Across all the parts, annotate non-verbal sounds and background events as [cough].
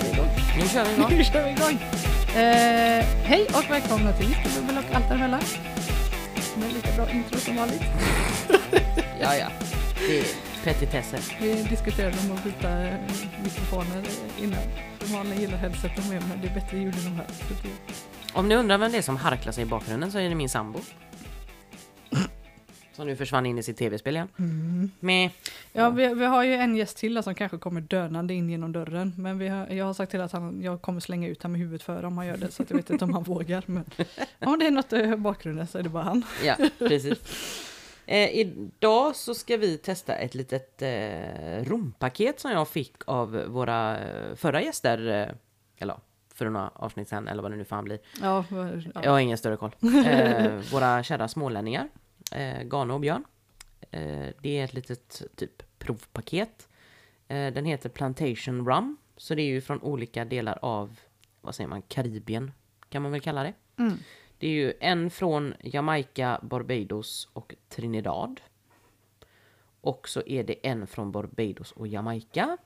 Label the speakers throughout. Speaker 1: kör vi igång.
Speaker 2: Nu kör vi igång! Eh, hej och välkomna till Bubbel och allt däremellan. Med lika bra intro som vanligt.
Speaker 1: [laughs] Ja, ja. Det är petitesser.
Speaker 2: Vi diskuterade om att byta eh, mikrofoner innan. För Malin gillar headseten med men det är bättre ljud än de här. Så det-
Speaker 1: Om ni undrar vem det är som harklar sig i bakgrunden så är det min [laughs] sambo. Som nu försvann in i sitt tv-spel igen.
Speaker 2: Mm.
Speaker 1: Meh.
Speaker 2: Ja, vi, vi har ju en gäst till här som kanske kommer dönande in genom dörren. Men vi har, jag har sagt till att han, jag kommer slänga ut honom med huvudet före om han gör det. Så att jag vet inte om han [laughs] vågar. Men om det är något eh, i bakgrunden så är det bara han.
Speaker 1: Ja, precis. [laughs] Eh, idag så ska vi testa ett litet eh, rompaket som jag fick av våra eh, förra gäster. Eh, eller ja, för några avsnitt sen, eller vad det nu fan blir.
Speaker 2: Ja, för- ja.
Speaker 1: Jag har ingen större koll. Eh, våra kära smålänningar, eh, Gano och Björn. Eh, det är ett litet typ provpaket. Eh, den heter Plantation Rum. Så det är ju från olika delar av, vad säger man, Karibien kan man väl kalla det.
Speaker 2: Mm.
Speaker 1: Det är ju en från Jamaica, Barbados och Trinidad. Och så är det en från Barbados och Jamaica.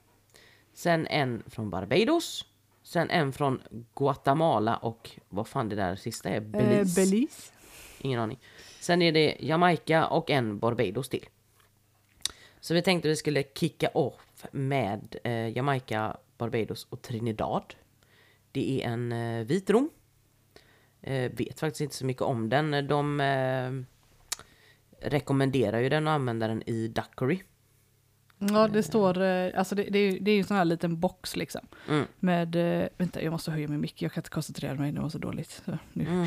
Speaker 1: Sen en från Barbados. Sen en från Guatemala och vad fan det där sista är?
Speaker 2: Eh,
Speaker 1: Belize.
Speaker 2: Belize.
Speaker 1: Ingen aning. Sen är det Jamaica och en Barbados till. Så vi tänkte vi skulle kicka off med eh, Jamaica, Barbados och Trinidad. Det är en eh, vit rom. Eh, vet faktiskt inte så mycket om den. De eh, rekommenderar ju den och använder den i Duckery.
Speaker 2: Ja, det står, eh, alltså det, det, är, ju- det är ju en sån här liten box liksom.
Speaker 1: Mm.
Speaker 2: Med, eh, vänta jag måste höja min mick, jag kan inte koncentrera mig, det var så dåligt. Så, nu.
Speaker 1: Mm.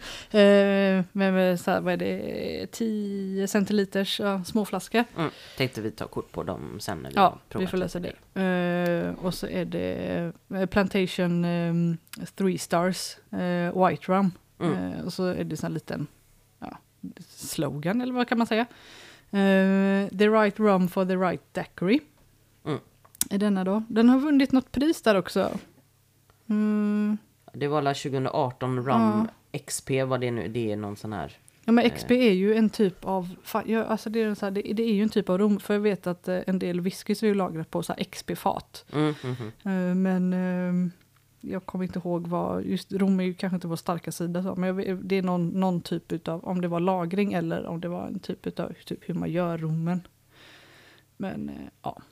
Speaker 2: [laughs] Eh, men med så här, vad är det, 10 centiliters ja, småflaska.
Speaker 1: Mm. Tänkte vi ta kort på dem sen när vi har
Speaker 2: Ja, vi
Speaker 1: provat
Speaker 2: får lösa
Speaker 1: lite.
Speaker 2: det. Eh, och så är det eh, Plantation eh, Three Stars eh, White Rum.
Speaker 1: Mm.
Speaker 2: Eh, och så är det en sån här liten ja, slogan, eller vad kan man säga? Eh, the right rum for the right daiquiri.
Speaker 1: Mm.
Speaker 2: Är denna då. Den har vunnit något pris där också. Mm.
Speaker 1: Det var alla 2018 Rum XP var det nu. Det är någon sån här.
Speaker 2: Ja men XP
Speaker 1: Eh.
Speaker 2: är ju en typ av, fan, ja, alltså det, är en så här, det, det är ju en typ av rom, för jag vet att eh, en del whiskys är ju lagrat på så här XP-fat.
Speaker 1: Mm, mm, mm.
Speaker 2: Eh, Men eh, jag kommer inte ihåg vad, just Rom är ju kanske inte vår starka sida, så, men jag, vet- det är någon, någon typ utav, om det var lagring eller om det var en typ utav typ hur man gör rommen. Men eh, ja,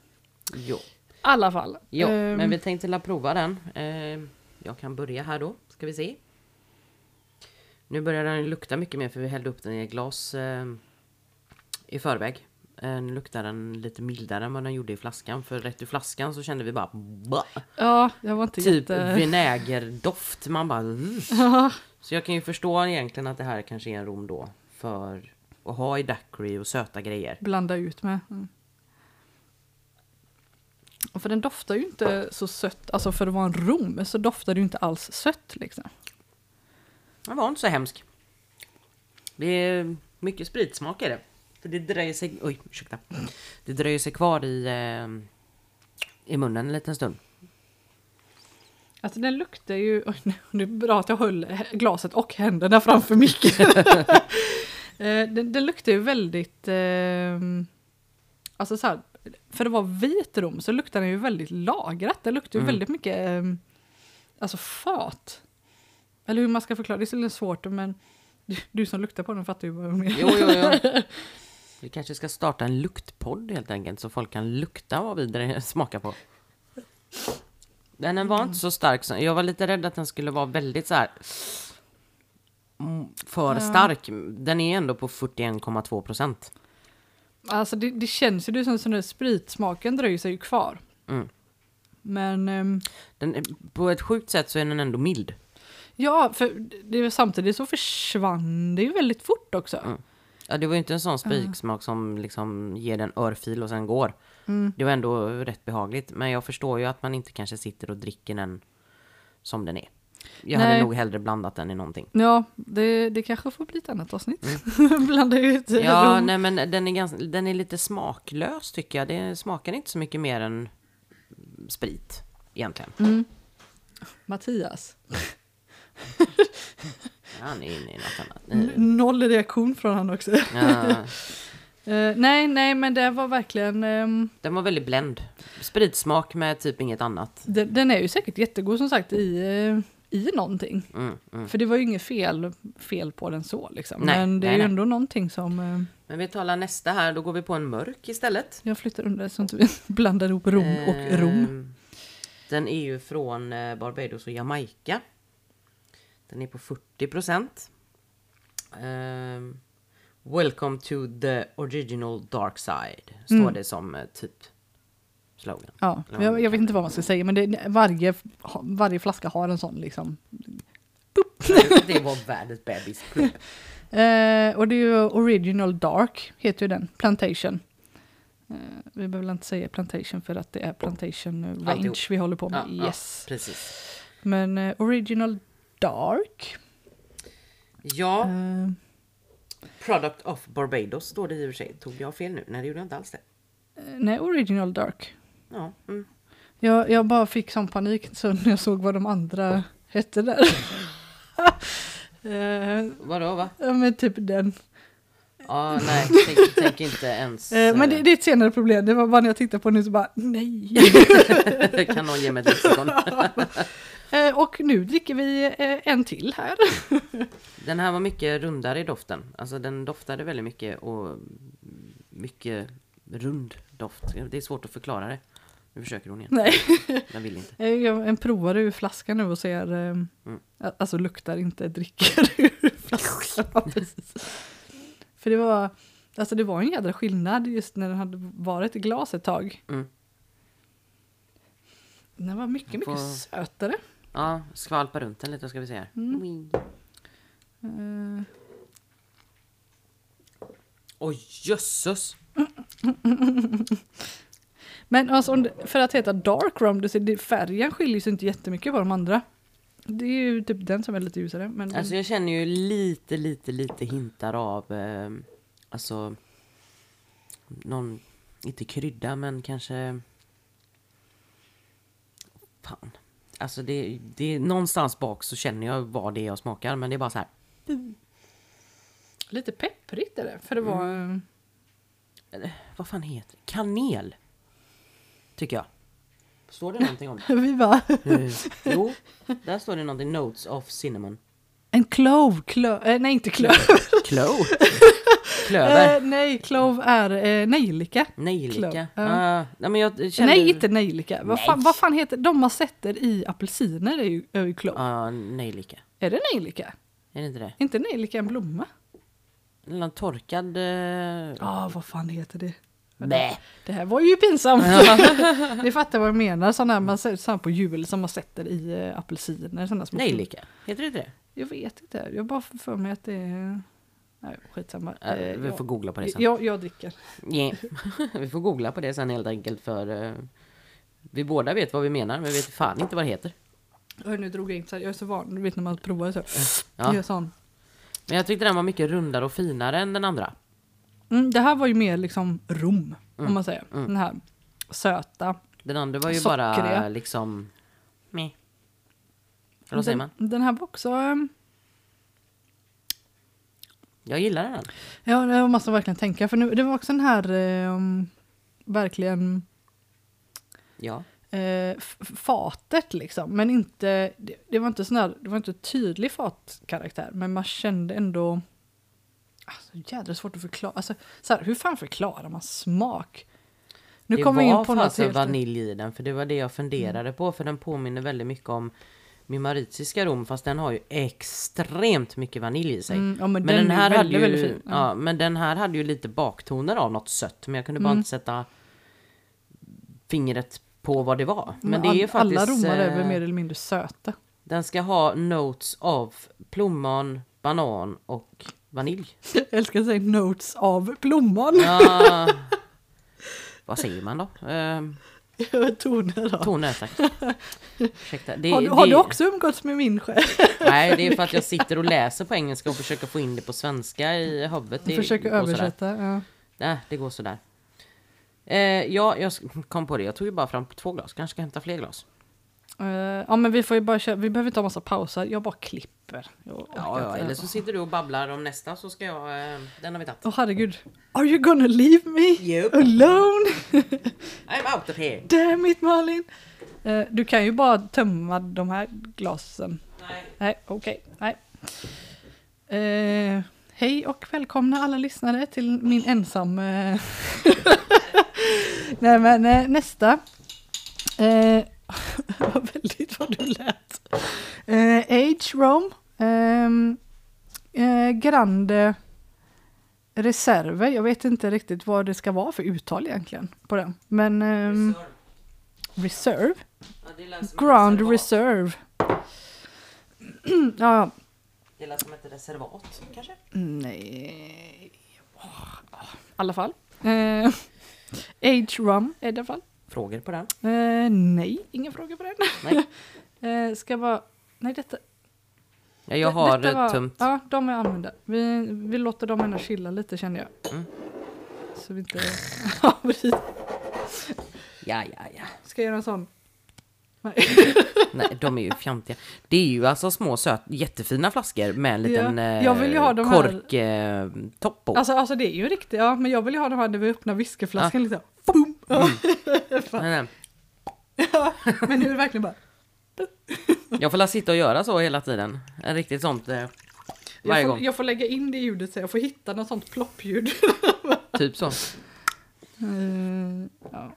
Speaker 1: Jo.
Speaker 2: i alla fall.
Speaker 1: Jo,
Speaker 2: Ehm,
Speaker 1: men vi tänkte la prova den. Eh, jag kan börja här då, ska vi se. Nu börjar den lukta mycket mer för vi hällde upp den i ett glas eh, i förväg. Eh, nu luktar den lite mildare än vad den gjorde i flaskan. För rätt i flaskan så kände vi bara bah,
Speaker 2: Ja, jag var inte
Speaker 1: typ
Speaker 2: jätte...
Speaker 1: vinägerdoft. Man bara... "Ugh."
Speaker 2: [laughs]
Speaker 1: Så jag kan ju förstå egentligen att det här kanske är en rom då. För att ha i daiquiri och söta grejer.
Speaker 2: blanda ut med. Mm. Och För den doftar ju inte så sött, alltså för att vara en rom så doftar det ju inte alls sött liksom.
Speaker 1: Den var inte så hemsk. Det är mycket spritsmak är det. För det dröjer sig... Oj, ursäkta. Det dröjer sig kvar i, eh, i munnen en liten stund.
Speaker 2: Alltså den luktar ju, oj, nu- det är bra att jag höll glaset och händerna framför micken. [laughs] Eh, den, den luktar ju väldigt, eh, alltså så här, för att vara vit rom så luktar den ju väldigt lagrat. Den luktar ju
Speaker 1: Mm.
Speaker 2: väldigt mycket, eh, alltså fat. Eller hur man ska förklara, det är så lite svårt men du, du som luktar på den fattar ju vad jag menar.
Speaker 1: Jo, jo, jo. Vi kanske ska starta en luktpodd helt enkelt så folk kan lukta vad vi [laughs] dre- smakar på. Men den var inte så stark. som- Jag var lite rädd att den skulle vara väldigt så här... mm, För stark. Den är ändå på 41,2 procent.
Speaker 2: [laughs] Alltså det, det känns ju det är som sån där spritsmaken dröjer sig ju kvar.
Speaker 1: Mm.
Speaker 2: Men ehm,
Speaker 1: Den, är- på ett sjukt sätt så är den ändå mild.
Speaker 2: ja, för det, det- samtidigt så försvann det ju väldigt fort också.
Speaker 1: Mm. Ja, det var ju inte en sån spiksmak som liksom ger den örfil och sen går.
Speaker 2: Mm.
Speaker 1: Det var ändå rätt behagligt. Men jag förstår ju att man inte kanske sitter och dricker den som den är. Jag hade
Speaker 2: Nej.
Speaker 1: nog hellre blandat den i någonting.
Speaker 2: [laughs] Ja, det, det kanske får bli ett annat avsnitt. [laughs]
Speaker 1: Mm.
Speaker 2: Blanda ut
Speaker 1: Ja,
Speaker 2: rom.
Speaker 1: nej men den är, ganska, den är lite smaklös tycker jag. Det smakar inte så mycket mer än sprit egentligen.
Speaker 2: Mm. Mattias.
Speaker 1: Han är inne i något annat.
Speaker 2: [laughs] N- Noll reaktion från han också.
Speaker 1: Ja,
Speaker 2: Eh, nej, nej, men det var verkligen... ehm,
Speaker 1: Den var väldigt bländ. Spritsmak med typ inget annat.
Speaker 2: den, den är ju säkert jättegod som sagt i, eh, i någonting.
Speaker 1: Mm, mm.
Speaker 2: För det var ju inget fel, fel på den så liksom.
Speaker 1: Nej,
Speaker 2: men det är
Speaker 1: nej,
Speaker 2: ju
Speaker 1: nej.
Speaker 2: ändå någonting som... eh,
Speaker 1: Men vi talar nästa här, då går vi på en mörk istället.
Speaker 2: jag flyttar undan så att vi [laughs] blandar ihop Rom och Rom.
Speaker 1: Ehm, Den är ju från eh, Barbados och Jamaica. Den är på 40 procent. Ehm, Welcome to the original dark side. Står
Speaker 2: Mm.
Speaker 1: det som eh, typ
Speaker 2: [laughs]
Speaker 1: slogan.
Speaker 2: Ja, jag, jag vet inte vad man ska säga men det, varje, varje flaska har en sån liksom.
Speaker 1: Det var världens bebis.
Speaker 2: Eh, och det är ju Original Dark heter ju den, Plantation. Eh, vi behöver väl inte säga Plantation för att det är Plantation Range
Speaker 1: Alltihop.
Speaker 2: vi håller på med.
Speaker 1: Ja, ja.
Speaker 2: yes.
Speaker 1: Precis.
Speaker 2: Men eh, Original Dark.
Speaker 1: Ja,
Speaker 2: Eh,
Speaker 1: product of Barbados står det i och för sig. Tog jag fel nu? Nej, det gjorde jag inte alls det.
Speaker 2: nej, Original Dark.
Speaker 1: Ja, mm.
Speaker 2: Jag, jag bara fick sån panik så när jag såg vad de andra hette där. [laughs] eh,
Speaker 1: Vadå va?
Speaker 2: ja, men typ den.
Speaker 1: Ja, nej, tänk, tänk inte ens.
Speaker 2: Eh, men det,
Speaker 1: eh,
Speaker 2: det är ett senare problem, det var bara när jag tittade på nu så bara
Speaker 1: [laughs]
Speaker 2: nej. [laughs]
Speaker 1: eh, kan någon ge mig ett lexikon?
Speaker 2: Eh, och nu dricker vi eh, en till
Speaker 1: [laughs]
Speaker 2: här.
Speaker 1: Den här var mycket rundare i doften. Alltså den doftade väldigt mycket och mycket rund doft. Det är svårt att förklara det. Nu försöker hon igen.
Speaker 2: Nej.
Speaker 1: Den vill inte.
Speaker 2: Eh, Jag en provar ur flaskan nu och ser, eh,
Speaker 1: Mm.
Speaker 2: a- alltså luktar inte, dricker [laughs] ur flaskan. Ja,
Speaker 1: [laughs]
Speaker 2: precis. För det var, alltså det var en jädra skillnad just när den hade varit i glas ett tag.
Speaker 1: Mm.
Speaker 2: Den var mycket, mycket
Speaker 1: Får-
Speaker 2: sötare. Mm.
Speaker 1: Ja, skvalpa runt den lite ska vi se här.
Speaker 2: Eh,
Speaker 1: Oj jösses!
Speaker 2: Men alltså, om det- för att heta dark rum, det ser- det- färgen skiljer sig inte jättemycket på de andra. Det är ju typ den som är lite ljusare. Men
Speaker 1: Alltså jag känner ju lite, lite, lite hintar av eh, alltså någon, inte krydda men kanske Fan. Alltså det, det är någonstans bak så känner jag vad det är jag smakar men det är bara så här.
Speaker 2: lite pepprigt är det, för det var...
Speaker 1: Mm.
Speaker 2: eh,
Speaker 1: Eller, vad fan heter det? Kanel. Tycker jag. Står det någonting om
Speaker 2: [laughs]
Speaker 1: det?
Speaker 2: Vi bara...
Speaker 1: Eh, jo, där står det någonting. Notes of cinnamon.
Speaker 2: En klov, klöv, eh, nej inte
Speaker 1: [laughs]
Speaker 2: klöv.
Speaker 1: Clove. Klöver.
Speaker 2: Eh, [laughs] nej, klov är eh, nejlika.
Speaker 1: Nejlika.
Speaker 2: clove,
Speaker 1: Ah, nej, men jag kände...
Speaker 2: Nej, inte nejlika. Vad
Speaker 1: Nej.
Speaker 2: fan, vad fan heter de man sätter i apelsiner är ju, är ju klov.
Speaker 1: Ja, nejlika.
Speaker 2: Är det nejlika?
Speaker 1: Är det inte det?
Speaker 2: Är inte nejlika en blomma?
Speaker 1: Eller en torkad... eh,
Speaker 2: Ja, ah, vad fan heter det?
Speaker 1: Bä.
Speaker 2: Det här var ju pinsamt. [laughs] Ni fattar vad jag menar, sådana här man ser sådana på jul som man sätter i eh, apelsiner. Såna små
Speaker 1: Nejlika. Heter det inte det?
Speaker 2: Jag vet inte, jag bara får för mig att det är... Nej, skitsamma.
Speaker 1: Eh,
Speaker 2: Eh,
Speaker 1: vi får
Speaker 2: jag,
Speaker 1: googla på det sen.
Speaker 2: jag, jag dricker.
Speaker 1: Nej. [laughs] vi får googla på det sen helt enkelt för... eh, vi båda vet vad vi menar men vi vet fan inte vad det heter.
Speaker 2: Hör, nu drog jag in så här, jag är så van, du vet när man provar så.
Speaker 1: Ja.
Speaker 2: Gör sån.
Speaker 1: Men jag tyckte den var mycket rundare och finare än den andra.
Speaker 2: Mm, det här var ju mer liksom rom,
Speaker 1: Mm.
Speaker 2: om man säger. Den här söta.
Speaker 1: Den andra var ju bara
Speaker 2: Sockriga.
Speaker 1: liksom... Meh. Eller vad säger man?
Speaker 2: Den, den här var också... ehm,
Speaker 1: Jag gillar den.
Speaker 2: Ja, det måste jag verkligen tänka. För nu, det var också den här ehm, verkligen
Speaker 1: Ja.
Speaker 2: eh, f- fatet liksom. Men inte, det, det var inte sån här, det var inte tydlig fatkaraktär. Men man kände ändå... Alltså jädra svårt att förklara. Alltså, så här, hur fan förklarar man smak? Nu
Speaker 1: det
Speaker 2: kommer jag
Speaker 1: var
Speaker 2: in på något
Speaker 1: fasen
Speaker 2: helt...
Speaker 1: vanilj i den för det var det jag funderade på för den påminner väldigt mycket om min maritiska rom fast den har ju extremt mycket vanilj i sig.
Speaker 2: Mm, ja, men den är väldigt,
Speaker 1: hade ju,
Speaker 2: väldigt fin. Mm.
Speaker 1: Ja. men den här hade ju lite baktoner av något sött men jag kunde bara inte sätta fingret på vad det var. Men, det är ju
Speaker 2: Mm, all-
Speaker 1: faktiskt...
Speaker 2: alla romar är väl
Speaker 1: eh,
Speaker 2: mer eller mindre söta.
Speaker 1: Den ska ha notes av plommon, banan och vanilj.
Speaker 2: Jag älskar att säga notes av plommon. [laughs]
Speaker 1: Ja. Vad säger man då? Ehm,
Speaker 2: Toner av.
Speaker 1: Toner, tack. Ursäkta. Det,
Speaker 2: Har, du- har
Speaker 1: det,
Speaker 2: du också umgåtts med min chef?
Speaker 1: Nej, det är för att jag sitter och läser på engelska och försöker få in det på svenska i huvudet. Det
Speaker 2: Försöker
Speaker 1: går sådär.
Speaker 2: översätta. Ja.
Speaker 1: Nej, det går sådär. Eh, ja, jag s- kom på det. Jag tog ju bara fram två glas. Kanske ska jag hämta fler glas.
Speaker 2: Eh, ja men vi får ju bara köra, vi behöver inte ha massa pauser, jag bara klipper. Jag orkar
Speaker 1: Ja, ja,
Speaker 2: inte.
Speaker 1: eller så sitter du och babblar om nästa så ska jag... eh, Den har vi tagit.
Speaker 2: Åh herregud. Are you gonna leave me?
Speaker 1: Yep.
Speaker 2: Alone?
Speaker 1: I'm out of here!
Speaker 2: Damn it Malin! Eh, du kan ju bara tömma de här glasen.
Speaker 1: Nej.
Speaker 2: Nej, okej. Nej. Eh, hej och välkomna alla lyssnare till min ensam... eh, [laughs] Nej, men eh, nästa. Eh, [laughs] vad väldigt vad du lät. Eh, Age Rome. Ehm, eh, grande Reserve. Jag vet inte riktigt vad det ska vara för uttal egentligen på den. Men ehm, Reserve.
Speaker 1: Ja, det lät som ett
Speaker 2: Grand
Speaker 1: reservat.
Speaker 2: Reserve. [clears throat] ja, ja.
Speaker 1: Det lät som ett reservat, kanske?
Speaker 2: Nej. I alla fall. Eh, age rum är det i alla fall.
Speaker 1: Frågor på den?
Speaker 2: Eh, nej, ingen fråga på den.
Speaker 1: Nej.
Speaker 2: [laughs] eh, ska vara... Nej, detta...
Speaker 1: Ja, jag har
Speaker 2: detta var-
Speaker 1: eh, tömt.
Speaker 2: Ja, de är använda. Vi, vi låter dem ändå chilla lite känner jag.
Speaker 1: Mm.
Speaker 2: Så vi inte... [laughs] Ja, precis.
Speaker 1: Ja, ja, ja.
Speaker 2: ska jag göra en sån? Nej.
Speaker 1: Nej, de är ju fjantiga. Det är ju alltså små söta, jättefina flaskor med en liten
Speaker 2: Ja,
Speaker 1: eh,
Speaker 2: jag vill ju ha de här-
Speaker 1: kork eh, topp på.
Speaker 2: Alltså, alltså det är ju riktigt, ja men jag vill ju ha de här där vi öppnar whiskyflaskan liksom. Boom! [laughs]
Speaker 1: Nej, nej.
Speaker 2: Ja, men nu är det verkligen bara...
Speaker 1: Jag får la sitta och göra så hela tiden. En riktigt sånt eh, varje
Speaker 2: Jag får,
Speaker 1: gång.
Speaker 2: jag får lägga in det ljudet så jag får hitta något sånt ploppljud.
Speaker 1: Typ så.
Speaker 2: Eh, ja.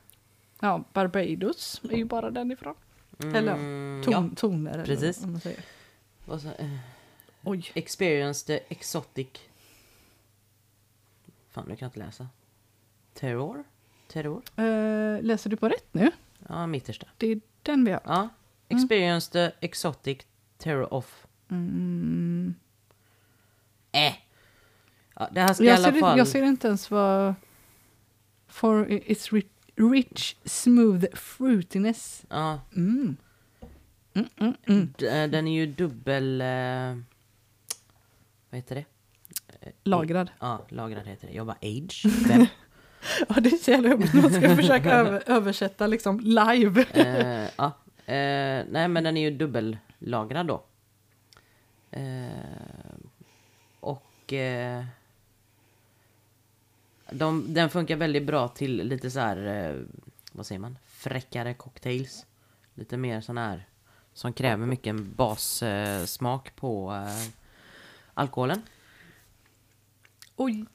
Speaker 2: ja, Barbados är ju bara den ifrån.
Speaker 1: Mm,
Speaker 2: Eller
Speaker 1: ja.
Speaker 2: Ton, Toner. eller
Speaker 1: precis.
Speaker 2: vad man säger.
Speaker 1: Och så, eh,
Speaker 2: Oj.
Speaker 1: experience the exotic... Fan, nu kan jag inte läsa. Terror? Terror?
Speaker 2: Eh, läser du på rätt nu?
Speaker 1: Ja, mittersta.
Speaker 2: Det är den vi har.
Speaker 1: Ja. Experience the exotic terror of...
Speaker 2: Mm.
Speaker 1: Äh! Ja, det här ska
Speaker 2: Jag,
Speaker 1: i
Speaker 2: ser,
Speaker 1: alla
Speaker 2: inte-
Speaker 1: fall...
Speaker 2: jag ser inte ens vad... For its ri- rich smooth fruitiness.
Speaker 1: Ja,
Speaker 2: Mm.
Speaker 1: d- eh, den är ju dubbel... Eh, vad heter det?
Speaker 2: Lagrad.
Speaker 1: Ja, lagrad heter det. Jag bara age. Vem?
Speaker 2: [laughs] Ja, det är så jävla jobbigt när man [laughs] ska försöka över, översätta liksom live.
Speaker 1: eh, ja. eh, nej, men den är ju dubbellagrad då. Eh, och... Eh, de, den funkar väldigt bra till lite så här... Eh, vad säger man? Fräckare cocktails. Lite mer sån här... Som kräver mycket en bassmak eh, smak på eh, alkoholen.
Speaker 2: Oj.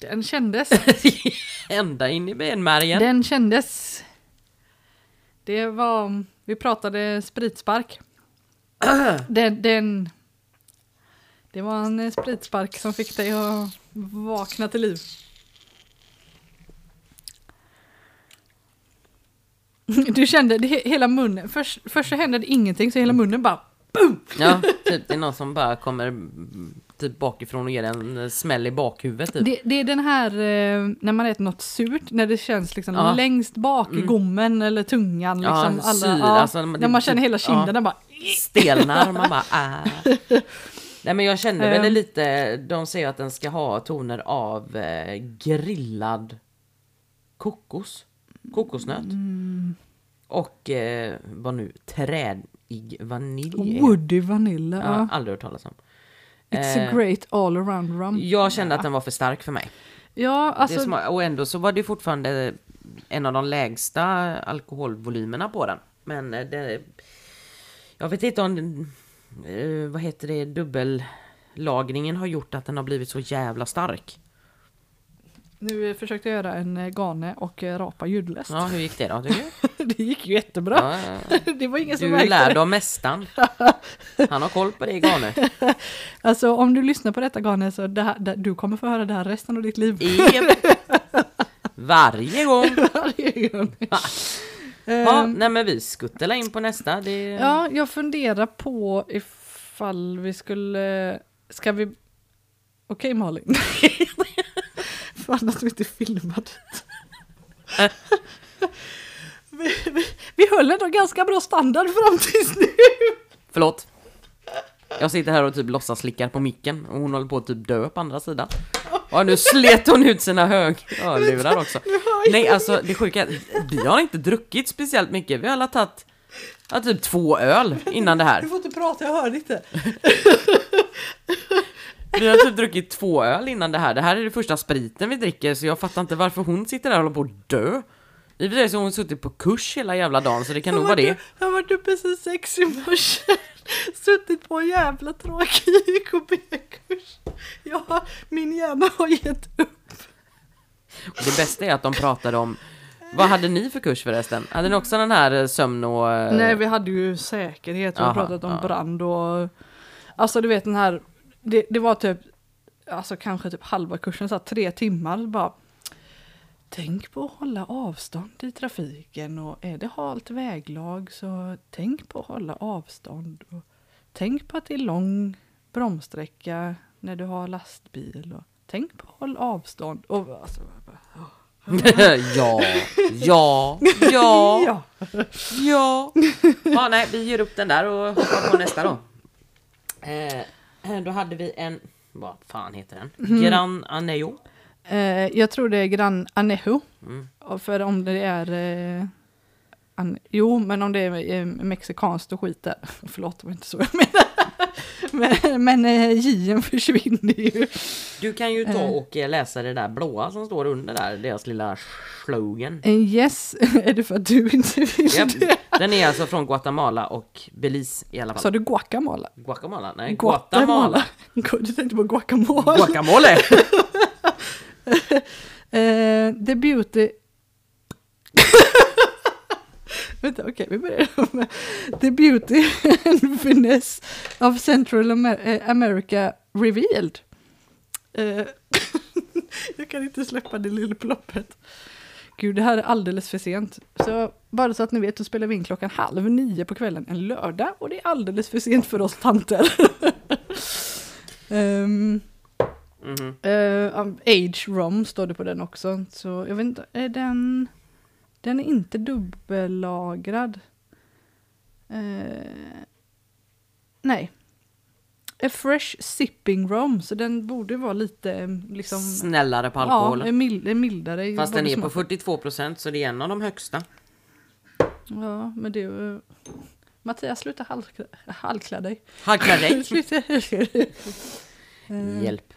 Speaker 2: Den [laughs] kändes.
Speaker 1: Ända in i benmärgen.
Speaker 2: Den kändes. Det var, vi pratade
Speaker 1: [clears throat]
Speaker 2: spritspark. den, den, det var en eh, spritspark som fick dig att vakna till liv. [laughs] Du kände det, he- hela munnen, först, först så hände det ingenting så hela munnen bara
Speaker 1: Ja, typ det är någon som bara kommer mm, typ bakifrån och ger en eh, smäll i bakhuvudet typ.
Speaker 2: Det, det är den här eh, när man äter något surt, när det känns liksom
Speaker 1: Ja.
Speaker 2: längst bak i
Speaker 1: Mm.
Speaker 2: gommen eller tungan.
Speaker 1: Ja,
Speaker 2: Liksom, alla,
Speaker 1: syra,
Speaker 2: ja,
Speaker 1: alltså, det-
Speaker 2: när man känner hela
Speaker 1: ja.
Speaker 2: kinden den bara...
Speaker 1: Stelnar, man bara äh. Nej men jag känner väl
Speaker 2: Ehm.
Speaker 1: lite, de säger att den ska ha toner av eh, grillad kokos, kokosnöt. Och eh, vad nu, trädig
Speaker 2: Oh,
Speaker 1: vanilj är.
Speaker 2: Woody Vanilla.
Speaker 1: Ja,
Speaker 2: Ja.
Speaker 1: aldrig hört talas om.
Speaker 2: It's
Speaker 1: Eh,
Speaker 2: a great all around rum.
Speaker 1: Jag kände att den var för stark för mig.
Speaker 2: Ja,
Speaker 1: det
Speaker 2: alltså,
Speaker 1: sma- och ändå så var det fortfarande en av de lägsta alkoholvolymerna på den. Men eh, det, jag vet inte om, eh, vad heter det, dubbellagringen har gjort att den har blivit så jävla stark.
Speaker 2: nu eh, försökte jag göra en eh, gane och eh, rapa ljudlöst.
Speaker 1: Ja, hur gick det då tycker du?
Speaker 2: [laughs] det gick ju jättebra.
Speaker 1: Ja, ja,
Speaker 2: [laughs]
Speaker 1: ja.
Speaker 2: det var ingen som
Speaker 1: Du
Speaker 2: märkte
Speaker 1: lärde
Speaker 2: det. [laughs]
Speaker 1: av mästaren. Han har koll på dig Gane.
Speaker 2: Alltså om du lyssnar på detta gane så det här, det, du kommer få höra det här resten av ditt liv. [laughs]
Speaker 1: Jep. Varje gång.
Speaker 2: Varje gång.
Speaker 1: Ja,
Speaker 2: Ehm,
Speaker 1: nej men vi skuttelar in på nästa. Det,
Speaker 2: Ja, jag funderar på ifall vi skulle... Ska vi... Okej [laughs] Malin. Fan att vi inte filmade. Äh. [laughs] vi, vi, vi höll ändå ganska bra standard fram tills nu.
Speaker 1: Förlåt. Jag sitter här och typ låtsas slickar på micken och hon håller på att typ dö på andra sidan. Ja, nu slet hon ut sina höglurar också.
Speaker 2: Nu hör jag.
Speaker 1: Nej, alltså det sjuka är att vi har inte druckit speciellt mycket. Vi har alla tagit ja, typ två öl innan det
Speaker 2: Du
Speaker 1: här.
Speaker 2: får inte prata, jag hörde inte.
Speaker 1: Vi har typ druckit två öl innan det här. Det här är det första spriten vi dricker, så jag fattar inte varför hon sitter där och håller på att dö. I och för sig så har hon suttit på kurs hela jävla dagen, så det kan nog vara det.
Speaker 2: Jag har varit uppe sen sex i morse. Suttit på en jävla tråkig YKB-kurs. Jag har- Min hjärna har gett upp.
Speaker 1: Och det bästa är att de pratade om vad hade ni för kurs förresten? Hade ni också den här eh, sömn och... eh,
Speaker 2: Nej, vi hade ju säkerhet. Vi har
Speaker 1: Aha,
Speaker 2: pratat om
Speaker 1: ja.
Speaker 2: brand och... Alltså du vet den här... Det, det var typ... Alltså kanske typ halva kursen, så här, tre timmar bara... Tänk på att hålla avstånd i trafiken och är det halt väglag så tänk på att hålla avstånd. Och tänk på att det är lång bromssträcka när du har lastbil. Och tänk på att hålla avstånd. Och, alltså,
Speaker 1: [laughs] ja, ja, ja, ja.
Speaker 2: [laughs] ja.
Speaker 1: Ja, nej, vi ger upp den där och hoppar på nästa då. Eh, då hade vi en, vad fan heter den?
Speaker 2: Mhm.
Speaker 1: Gran Aneo.
Speaker 2: Eh, jag tror det är Gran Anejo. Och För om det är... Eh, an, jo, men om det är eh, mexikanskt och skit där. [laughs] Förlåt, det var inte så jag menade. [laughs] men men eh, J-en försvinner ju.
Speaker 1: Du kan ju ta och eh, läsa det där blåa som står under där, deras lilla slogan.
Speaker 2: Eh, yes, [laughs] är det för att du inte vill
Speaker 1: Japp,
Speaker 2: det?
Speaker 1: Den är alltså från Guatemala och Belize i alla
Speaker 2: Sa
Speaker 1: fall.
Speaker 2: du guacamole?
Speaker 1: Guacamala? Nej, Guatemala.
Speaker 2: Guatemala. [laughs] Du tänkte på guacamole.
Speaker 1: Guacamole!
Speaker 2: Eh, the Beauty... Vänta, okej, vi börjar [laughs] med The Beauty and Finesse of Central Amer- eh, America Revealed. Eh, [laughs] jag kan inte släppa det lilla ploppet. Gud, det här är alldeles för sent. Så bara så att ni vet, då spelar vi in klockan halv nio på kvällen en lördag och det är alldeles för sent för oss tanter. [laughs] Ehm,
Speaker 1: Mhm.
Speaker 2: Eh, av Age Rom står det på den också. Så jag vet inte, är den... Den är inte dubbellagrad. Eh, nej. A Fresh Sipping Rom, så den borde vara lite eh, liksom...
Speaker 1: Snällare på
Speaker 2: Ja,
Speaker 1: alkoholen.
Speaker 2: en mild, en mildare. i
Speaker 1: Fast
Speaker 2: både
Speaker 1: den är på
Speaker 2: smak.
Speaker 1: 42% så det är en av de högsta.
Speaker 2: Ja, men det... är ju- eh, Mattias, sluta halkla, halkla dig.
Speaker 1: Hackla
Speaker 2: [laughs]
Speaker 1: dig!
Speaker 2: Sluta halkla dig.
Speaker 1: Hjälp.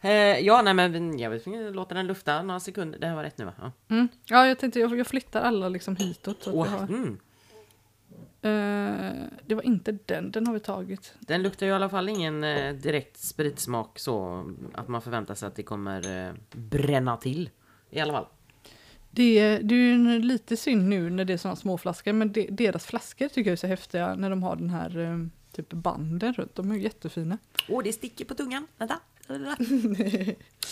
Speaker 1: Eh, ja, nej men jag vet inte, låta den lufta några sekunder. Det här var rätt nu va? Ja.
Speaker 2: Mm. Ja, jag tänkte jag, jag flyttar alla liksom hitåt. Så att vi
Speaker 1: Åh,
Speaker 2: har...
Speaker 1: mm.
Speaker 2: Eh, det var inte den, den har vi tagit.
Speaker 1: Den luktar ju i alla fall ingen eh, direkt spritsmak så att man förväntar sig att det kommer eh, bränna till. I alla fall.
Speaker 2: Det, är- det är ju en- lite synd nu när det är sådana små flaskor, men de, deras flaskor tycker jag är så häftiga när de har den här eh, typ banden runt. De är ju jättefina.
Speaker 1: Åh, det sticker på tungan. Vänta.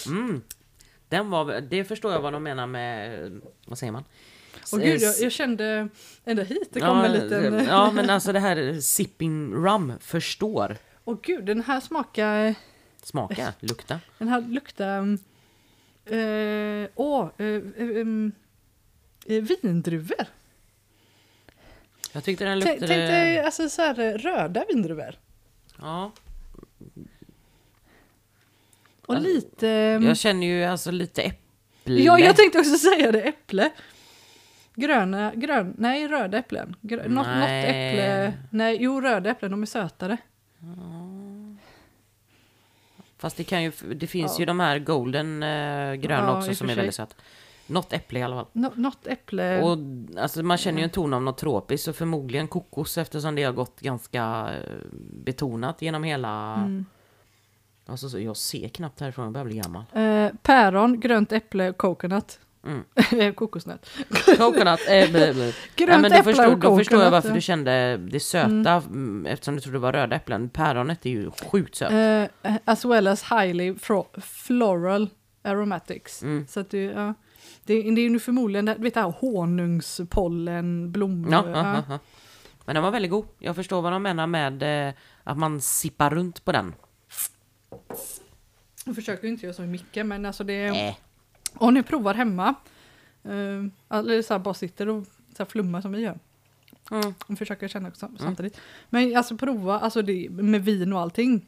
Speaker 1: Mm. Den var, väl- det förstår jag vad de menar med, eh, vad säger man?
Speaker 2: Och gud, jag, jag kände ända hit, det kom en liten... eh,
Speaker 1: Ja men alltså det här eh, sipping rum förstår.
Speaker 2: Och gud, den här smakar...
Speaker 1: Smaka, lukta.
Speaker 2: Den här luktar... mm, eh, Åh, eh, eh, mm, eh, vindruvor.
Speaker 1: Jag tyckte den
Speaker 2: Tänk
Speaker 1: luktade...
Speaker 2: tänk dig alltså, så här, eh, röda vindruvor.
Speaker 1: Ja.
Speaker 2: Och
Speaker 1: Alltså,
Speaker 2: lite...
Speaker 1: Jag känner ju alltså lite äpple.
Speaker 2: Ehm. Ja, jag tänkte också säga det. Äpple. Gröna, grön, nej röda äpplen. Grö, något, något
Speaker 1: Nej.
Speaker 2: äpple, nej jo röda äpplen, de är sötare.
Speaker 1: Fast det, kan ju, det finns
Speaker 2: Ja.
Speaker 1: ju de här golden eh, gröna
Speaker 2: Ja, i
Speaker 1: också
Speaker 2: och
Speaker 1: som
Speaker 2: för sig.
Speaker 1: är
Speaker 2: Ehm.
Speaker 1: väldigt söta. Något äpple i alla fall.
Speaker 2: Nå, något äpple,
Speaker 1: Och alltså, man känner ju en ton av något tropiskt och förmodligen kokos eftersom det har gått ganska eh, betonat genom hela...
Speaker 2: Mm.
Speaker 1: Alltså, så, jag ser knappt härifrån, jag börjar bli gammal.
Speaker 2: eh, päron, grönt äpple, coconut. [laughs]
Speaker 1: Mm.
Speaker 2: Kokosnöt.
Speaker 1: Coconut, eh, blä, blä.
Speaker 2: [laughs] Grönt
Speaker 1: men
Speaker 2: äpple
Speaker 1: då förstår,
Speaker 2: och
Speaker 1: då förstår jag
Speaker 2: coconut,
Speaker 1: varför
Speaker 2: ja.
Speaker 1: du kände det söta mm, eftersom du trodde det var röda äpplen. Päronet är ju sjukt sött.
Speaker 2: Eh, as well as highly fro- floral aromatics.
Speaker 1: Mm.
Speaker 2: Så att du, ja. det, det är ju nu förmodligen, det- du vet det här honungspollen, blommor.
Speaker 1: Ja,
Speaker 2: ja.
Speaker 1: ja, ja. Men den var väldigt god. Jag förstår vad de menar med eh, att man sippar runt på den.
Speaker 2: Nu försöker ju inte jag som Micke, men alltså det...
Speaker 1: Äh.
Speaker 2: Om ni provar hemma, eh, eller så här bara sitter och så här flummar som vi gör,
Speaker 1: Mm.
Speaker 2: och försöker känna också samtidigt. Men alltså prova, alltså det, med vin och allting,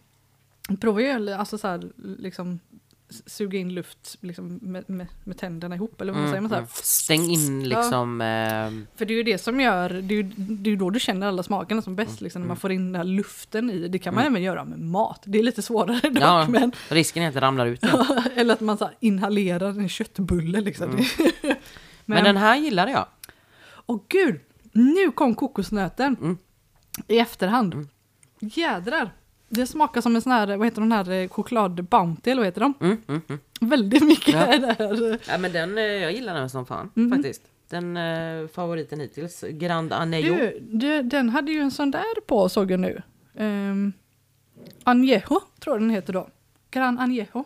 Speaker 2: prova ju alltså så här, liksom s- suga in luft liksom, med, med, med tänderna ihop, eller vad
Speaker 1: Mm,
Speaker 2: säger man? Så
Speaker 1: mm.
Speaker 2: här?
Speaker 1: Stäng in
Speaker 2: Ja.
Speaker 1: liksom... ehm,
Speaker 2: För det är ju det som gör, det är ju, det är ju då du känner alla smakerna som
Speaker 1: Mm,
Speaker 2: bäst, liksom, när man får in den här luften i. Det kan man även göra med mat, det är lite svårare dock,
Speaker 1: ja,
Speaker 2: men,
Speaker 1: risken är att det ramlar ut. igen.
Speaker 2: [laughs] eller att man så här, inhalerar en köttbulle liksom.
Speaker 1: Mm.
Speaker 2: [laughs]
Speaker 1: Men den här gillade jag.
Speaker 2: Åh gud, nu kom kokosnöten
Speaker 1: Mm.
Speaker 2: i efterhand. Jädrar, det smakar som en sån här, vad heter de här, eh, choklad bounty eller vad heter de?
Speaker 1: Mm, mm, mm.
Speaker 2: Väldigt mycket
Speaker 1: Ja.
Speaker 2: är det här.
Speaker 1: Ja, men den, eh, jag gillar den som fan
Speaker 2: Mhm.
Speaker 1: faktiskt. Den eh, favoriten hittills, Grand Anello.
Speaker 2: Du, du, den hade ju en sån där på såg jag nu. Um, Añejo tror jag den heter då. Gran Añejo.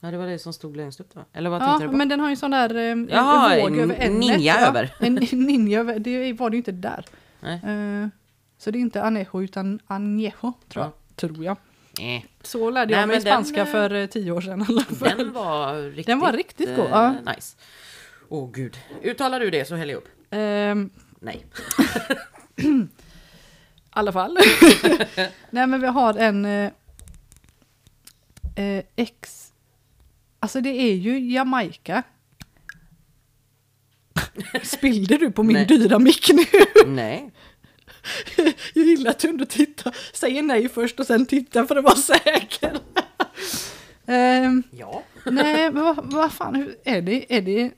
Speaker 1: Ja, det var det som stod längst upp då. Eller vad
Speaker 2: Ja,
Speaker 1: tänkte du på?
Speaker 2: men den har ju en sån där um,
Speaker 1: Jaha,
Speaker 2: våg
Speaker 1: en
Speaker 2: över ämnet.
Speaker 1: ninja
Speaker 2: ja.
Speaker 1: över.
Speaker 2: [laughs] En ninja över, det var det ju inte där.
Speaker 1: Nej.
Speaker 2: Eh, så det är inte Anejo utan Añejo tror jag. Tror jag.
Speaker 1: Eh,
Speaker 2: Så lärde
Speaker 1: Nej,
Speaker 2: jag mig
Speaker 1: men den,
Speaker 2: spanska
Speaker 1: eh,
Speaker 2: för eh, tio år sedan. i alla fall.
Speaker 1: Den var riktigt,
Speaker 2: Den var riktigt god,
Speaker 1: eh,
Speaker 2: ja.
Speaker 1: Nice. Åh oh, gud. Uttalar du det så häller jag upp.
Speaker 2: Ehm,
Speaker 1: Nej.
Speaker 2: I alla fall.
Speaker 1: [laughs]
Speaker 2: Nej men vi har en eh, eh, ex... Alltså det är ju Jamaica. Spillde du på min
Speaker 1: Nej.
Speaker 2: dyra mick nu? [laughs]
Speaker 1: Nej.
Speaker 2: Jag gillar att du ändå tittar. Säger nej först och sen tittar för att vara säker. [laughs] Ehm,
Speaker 1: Ja.
Speaker 2: nej men vad, vad fan, hur, är det, är det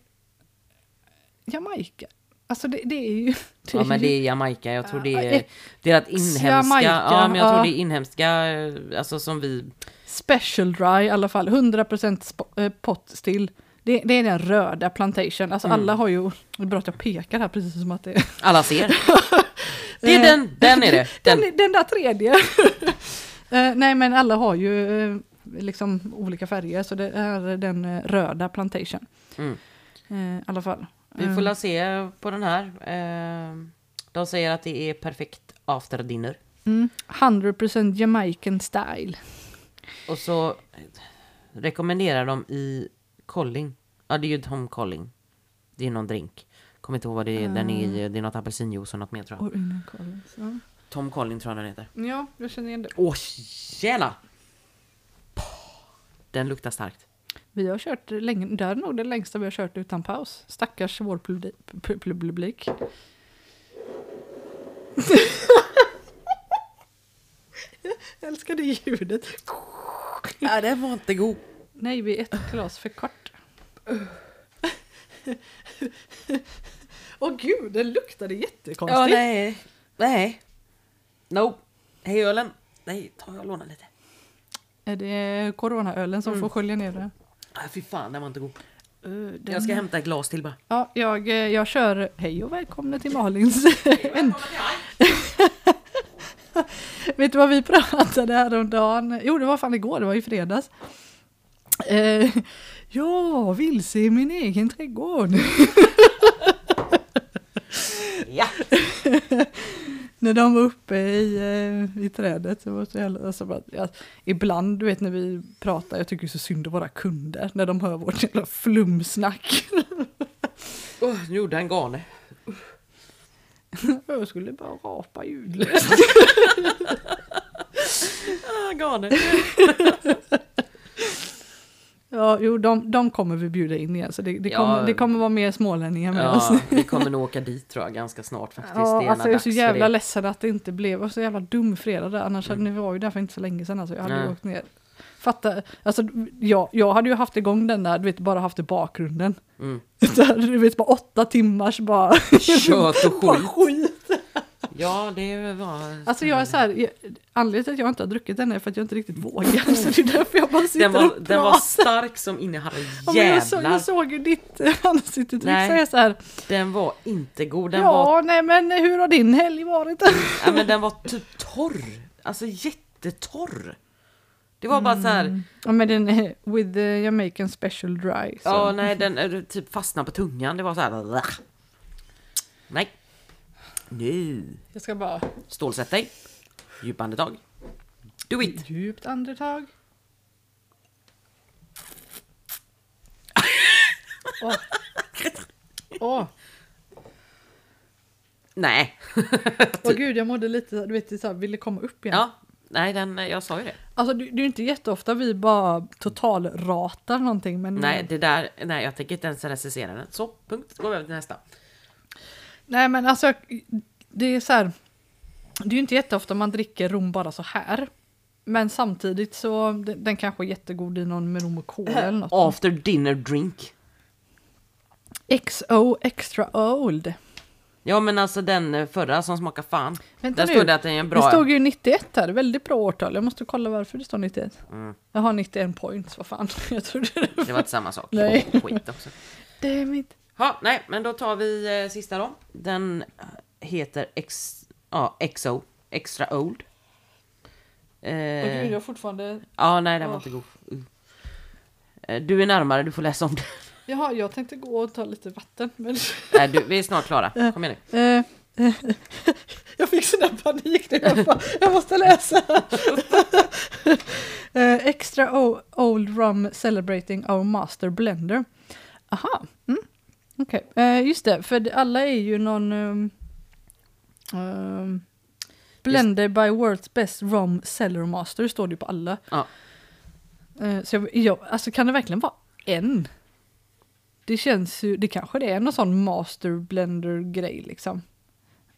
Speaker 2: Jamaica? Alltså det, det är ju... det
Speaker 1: Ja
Speaker 2: är
Speaker 1: men det
Speaker 2: ju-
Speaker 1: är Jamaica, jag tror det
Speaker 2: Typ. Ja,
Speaker 1: är
Speaker 2: ex-
Speaker 1: deras inhemska,
Speaker 2: Jamaica,
Speaker 1: ja men jag
Speaker 2: ja.
Speaker 1: tror det är inhemska, eh, alltså som vi,
Speaker 2: Special Dry i alla fall, 100% sp- eh, pot still. Det, det är den röda plantation, alltså
Speaker 1: Mm.
Speaker 2: alla har ju, det är bra att jag pekar här precis som att det är [laughs]
Speaker 1: alla ser. Det är
Speaker 2: Eh,
Speaker 1: den, den är det.
Speaker 2: [laughs]
Speaker 1: Den.
Speaker 2: den, den där tredje. [laughs] Eh, nej men alla har ju eh, liksom olika färger så det är den eh, röda plantation.
Speaker 1: Mm.
Speaker 2: Eh, I alla fall. Eh,
Speaker 1: Vi får la se på den här. Eh, De säger att det är perfekt after dinner.
Speaker 2: Mm. 100% Jamaican style.
Speaker 1: Och så rekommenderar de i Colling. Ja, det är ju Tom Colling. Det är någon drink. Kommer inte ihåg vad det är. Den är,
Speaker 2: Mm.
Speaker 1: i- det är något apelsinjuice och något mer tror jag.
Speaker 2: Och innan Collins, ja.
Speaker 1: Tom Colling tror jag den heter.
Speaker 2: ja, jag känner igen det.
Speaker 1: Åh, tjena! Den luktar starkt.
Speaker 2: Vi har kört länge, det här är nog det längsta vi har kört utan paus. Stackars vår publi- pu- pu- publik. Jag älskar det ljudet.
Speaker 1: Ja, den var inte god.
Speaker 2: Nej, vi är ett glas för kort. Åh gud, den luktade
Speaker 1: Ja,
Speaker 2: jättekonstigt.
Speaker 1: nej. Nej. No. Hej ölen. Nej, ta jag låna lite.
Speaker 2: är det coronaölen som får skölja ner det?
Speaker 1: Ah, fy fan, den var inte god.
Speaker 2: Uh,
Speaker 1: Jag ska hämta ett glas till bara.
Speaker 2: Ja, jag, eh, jag kör hej och välkomna till Malins. en... Vet du vad vi pratade häromdagen? Jo, det var fan igår, det var i fredags. Eh, ja, vilse i min egen [laughs] trädgård.
Speaker 1: Ja.
Speaker 2: när de var uppe i, eh, i trädet. Så var det så jävla, alltså bara, ja, ibland, du vet när vi pratar, jag tycker så synd om våra kunder när de hör vårt jävla flumsnack.
Speaker 1: Oh, nu gjorde han gane.
Speaker 2: [laughs] jag skulle bara rapa ljudlöst.
Speaker 1: Ah, gane.
Speaker 2: Ja, jo, de, de kommer vi bjuda in igen, så det, det,
Speaker 1: Ja.
Speaker 2: kommer, det kommer vara mer smålänningar med oss.
Speaker 1: Ja, vi kommer nog åka dit tror jag ganska snart faktiskt. det
Speaker 2: Ja,
Speaker 1: är
Speaker 2: alltså
Speaker 1: alltså,
Speaker 2: jag är så
Speaker 1: dags jävla
Speaker 2: jävla
Speaker 1: för det.
Speaker 2: ledsen att det inte blev, jag var så jävla dum fredag där, annars hade ni varit där för inte så länge sedan alltså, jag hade ju
Speaker 1: Mm. Nej.
Speaker 2: åkt ner. Fatta, alltså jag, jag hade ju haft igång den där, du vet bara haft i bakgrunden. [laughs]
Speaker 1: Mm.
Speaker 2: Så här, du vet bara åtta timmars bara [laughs]
Speaker 1: Kött och
Speaker 2: bara
Speaker 1: skit.
Speaker 2: skit.
Speaker 1: Ja, det var...
Speaker 2: Alltså jag är så här, jag, anledningen till att jag inte har druckit den är för att jag inte riktigt vågar. [laughs] Så det är därför jag bara sitter
Speaker 1: den, var,
Speaker 2: och
Speaker 1: den var
Speaker 2: pratar.
Speaker 1: stark som in i
Speaker 2: Ja,
Speaker 1: herrejävlar.
Speaker 2: men jag, så, jag såg ju ditt eh, [laughs] ansiktsuttryck, så
Speaker 1: Nej.
Speaker 2: jag är så här,
Speaker 1: Den var inte god. Den,
Speaker 2: ja
Speaker 1: var,
Speaker 2: nej men hur har din helg varit? [laughs]
Speaker 1: ja, men den var typ torr. Alltså jättetorr. Det var bara så här.
Speaker 2: ja men den är with the Jamaican special dry. Så.
Speaker 1: Ja, nej, den eh, typ fastnade på tungan. Det var så här. "Blah." Nej. Nu.
Speaker 2: Jag ska bara,
Speaker 1: Stålsätt dig. Djupa andetag. Do it.
Speaker 2: djupt andetag. Åh. Åh.
Speaker 1: Nej.
Speaker 2: Åh gud, jag mådde lite, så- du vet, så här, ville komma upp igen.
Speaker 1: Ja, Nej, den, eh, jag sa ju det.
Speaker 2: Alltså det, det är ju inte jätteofta vi bara totalratar någonting men
Speaker 1: Nej, det där, nej, jag tänker inte ens recensera den. Så, punkt. Går vi över till nästa.
Speaker 2: Nej, men alltså jag- det är så här. Det är ju inte jätteofta man dricker rom bara så här. Men samtidigt så de- den kanske är jättegod i någon med rom och cola eller något.
Speaker 1: After dinner drink.
Speaker 2: XO extra old.
Speaker 1: Ja, men alltså den eh, förra som smakar fan.
Speaker 2: Vänta
Speaker 1: där
Speaker 2: nu.
Speaker 1: stod det att den är en bra.
Speaker 2: Det stod ju 91 här, väldigt bra årtal. Jag måste kolla varför det står 91. Jag har 91 points, vad fan. [laughs] Jag trodde det.
Speaker 1: Mm, Det var inte samma sak.
Speaker 2: Nej.
Speaker 1: Skit också.
Speaker 2: Damn it.
Speaker 1: Ja, nej, men då tar vi eh, sista då. Den eh, heter X, ja, XO, Extra Old. Eh,
Speaker 2: jag har fortfarande...
Speaker 1: Ja, nej, den var inte god. Uh. Eh, Du är närmare, du får läsa om det. [laughs]
Speaker 2: Jaha, jag tänkte gå och ta lite vatten. Men...
Speaker 1: nej, du, vi är snart klara. Kom igen nu.
Speaker 2: Eh, eh, jag fick sån där panik nu. Jag, bara, jag måste läsa. Eh, extra o- Old Rum Celebrating Our Master Blender. Aha, mm. okej. Eh, just det, för det- alla är ju någon... Um, um, Blender by World's Best Rum Cellar Master står det ju på alla.
Speaker 1: Ja.
Speaker 2: Eh, så jag, jag, alltså kan det verkligen vara en? Det känns ju, det kanske det är någon sån master blender grej liksom.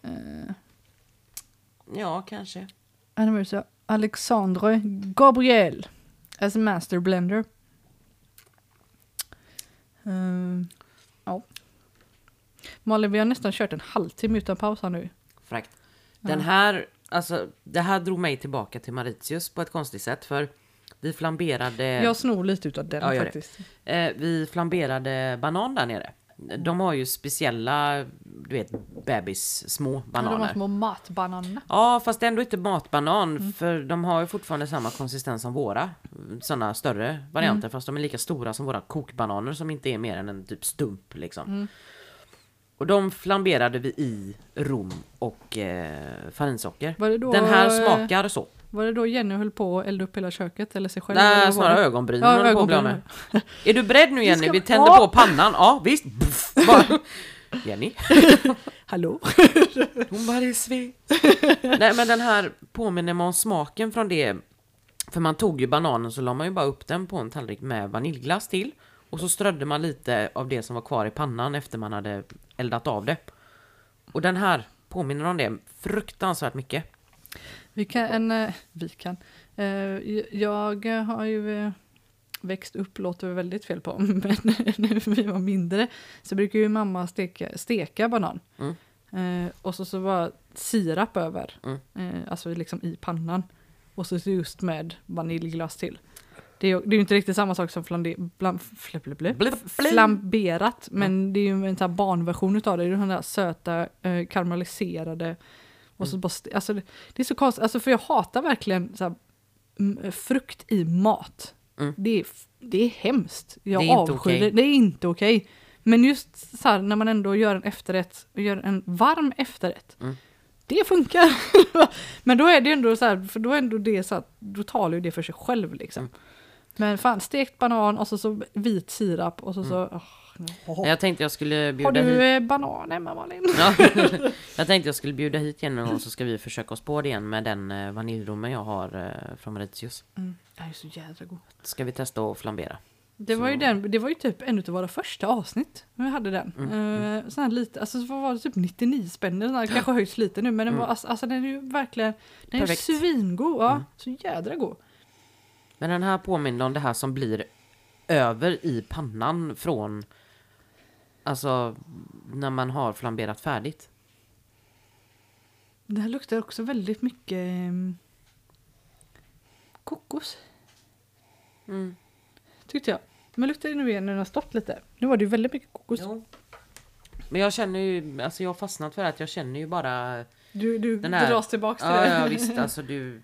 Speaker 2: Uh,
Speaker 1: Ja, kanske.
Speaker 2: han var så Alexandre Gabriel as a master blender. Eh, ja. Malin, vi har nästan kört en halvtimme utan paus här nu.
Speaker 1: Frakt. Den här, alltså, det här drog mig tillbaka till Mauritius på ett konstigt sätt. För vi flamberade...
Speaker 2: Jag snor lite utav den
Speaker 1: Ja, gör det.
Speaker 2: faktiskt.
Speaker 1: Eh, vi flamberade banan där nere. De har ju speciella, du vet, bebis små
Speaker 2: Ja, De
Speaker 1: bananer.
Speaker 2: har små matbananer.
Speaker 1: Ja, fast det är ändå inte matbanan
Speaker 2: Mm.
Speaker 1: för de har ju fortfarande samma konsistens som våra. Sådana större varianter
Speaker 2: Mm.
Speaker 1: fast de är lika stora som våra kokbananer som inte är mer än en typ stump liksom.
Speaker 2: Mm.
Speaker 1: Och de flamberade vi i rom och eh, farinsocker.
Speaker 2: Var det då,
Speaker 1: Den här
Speaker 2: eh,
Speaker 1: smakar så.
Speaker 2: Var det då Jenny höll på att elda upp hela köket eller sig själv? eller
Speaker 1: Nej,
Speaker 2: vad var
Speaker 1: snarare
Speaker 2: det?
Speaker 1: ögonbrynen
Speaker 2: Ja,
Speaker 1: håller på att bli av med.
Speaker 2: ögonbrynen.
Speaker 1: Är du beredd nu Jenny?
Speaker 2: ska-
Speaker 1: Vi tänder
Speaker 2: Ja.
Speaker 1: på pannan. Ja, visst. Buff,
Speaker 2: [laughs]
Speaker 1: bara. Jenny.
Speaker 2: Hallå?
Speaker 1: Hon bara, det
Speaker 2: [laughs]
Speaker 1: är svin. Nej men den här påminner mig om smaken från det. För man tog ju bananen så la man ju bara upp den på en tallrik med vaniljglass till. Och så strödde man lite av det som var kvar i pannan efter man hade eldat av det. Och den här påminner om det fruktansvärt mycket.
Speaker 2: Vi kan, en, eh, vi kan. Eh, j- Jag eh, har ju eh, växt upp, låter väl väldigt fel på, [laughs] men när vi var mindre så brukar ju mamma steka, steka banan.
Speaker 1: Mm.
Speaker 2: Eh, Och så, så var sirap över,
Speaker 1: Mm.
Speaker 2: eh, alltså liksom i pannan. Och så just med vaniljglass till. Det är ju det är ju inte riktigt samma sak som flande, bland, fl, fl, fl,
Speaker 1: Blip, blip.
Speaker 2: flamberat,
Speaker 1: Mm.
Speaker 2: men det är ju en sån här barnversion utav det. Det är den där söta, eh, karamelliserade. Och
Speaker 1: Mm.
Speaker 2: så bara, st- alltså, det, det är så konstigt, alltså, för jag hatar verkligen så här, mm, frukt i mat.
Speaker 1: Mm.
Speaker 2: Det, är, f- det är hemskt. Jag
Speaker 1: Det är inte
Speaker 2: avskyr det.
Speaker 1: okej.
Speaker 2: Det är inte okej. Men just så här, när man ändå gör en efterrätt, och gör en varm efterrätt.
Speaker 1: Mm.
Speaker 2: Det funkar. [laughs] men då är det ändå så här, för då är ändå det så här, då talar ju det för sig själv liksom.
Speaker 1: Mm.
Speaker 2: Men fan, stekt banan och så, så vit sirap och så
Speaker 1: Mm.
Speaker 2: så... åh,
Speaker 1: Nej, Jag tänkte jag skulle
Speaker 2: Har
Speaker 1: bjuda hit.
Speaker 2: du eh, banan hemma Malin?
Speaker 1: Ja. [laughs] Jag tänkte jag skulle bjuda hit igen någon gång så ska vi försöka oss på det igen med den eh, vaniljrommen jag har eh, från Mauritius.
Speaker 2: Mm. Det här är så jädra god.
Speaker 1: Ska vi testa att flambera.
Speaker 2: Det var, ju
Speaker 1: Så-
Speaker 2: den, det var ju typ en av våra första avsnitt. när Vi hade den. Mm, Sån här lite, alltså så var det typ 99 spänn. Den här kanske höjs lite nu men den var, alltså, alltså den är ju verkligen, den är
Speaker 1: Mm. Perfekt. Mm.
Speaker 2: svingod. Ja, så jädra god.
Speaker 1: Men den här påminner om det här som blir över i pannan från Alltså när man har flamberat färdigt.
Speaker 2: Den här luktar också väldigt mycket ehm, kokos.
Speaker 1: Mm.
Speaker 2: Tyckte jag. Men luktar det nu igen när den har stått lite. Nu var det ju väldigt mycket kokos.
Speaker 1: Men jag känner ju, alltså jag har fastnat för att jag känner ju bara
Speaker 2: Du, du
Speaker 1: Den här-
Speaker 2: dras tillbaka till
Speaker 1: Ja,
Speaker 2: det.
Speaker 1: ja visst alltså du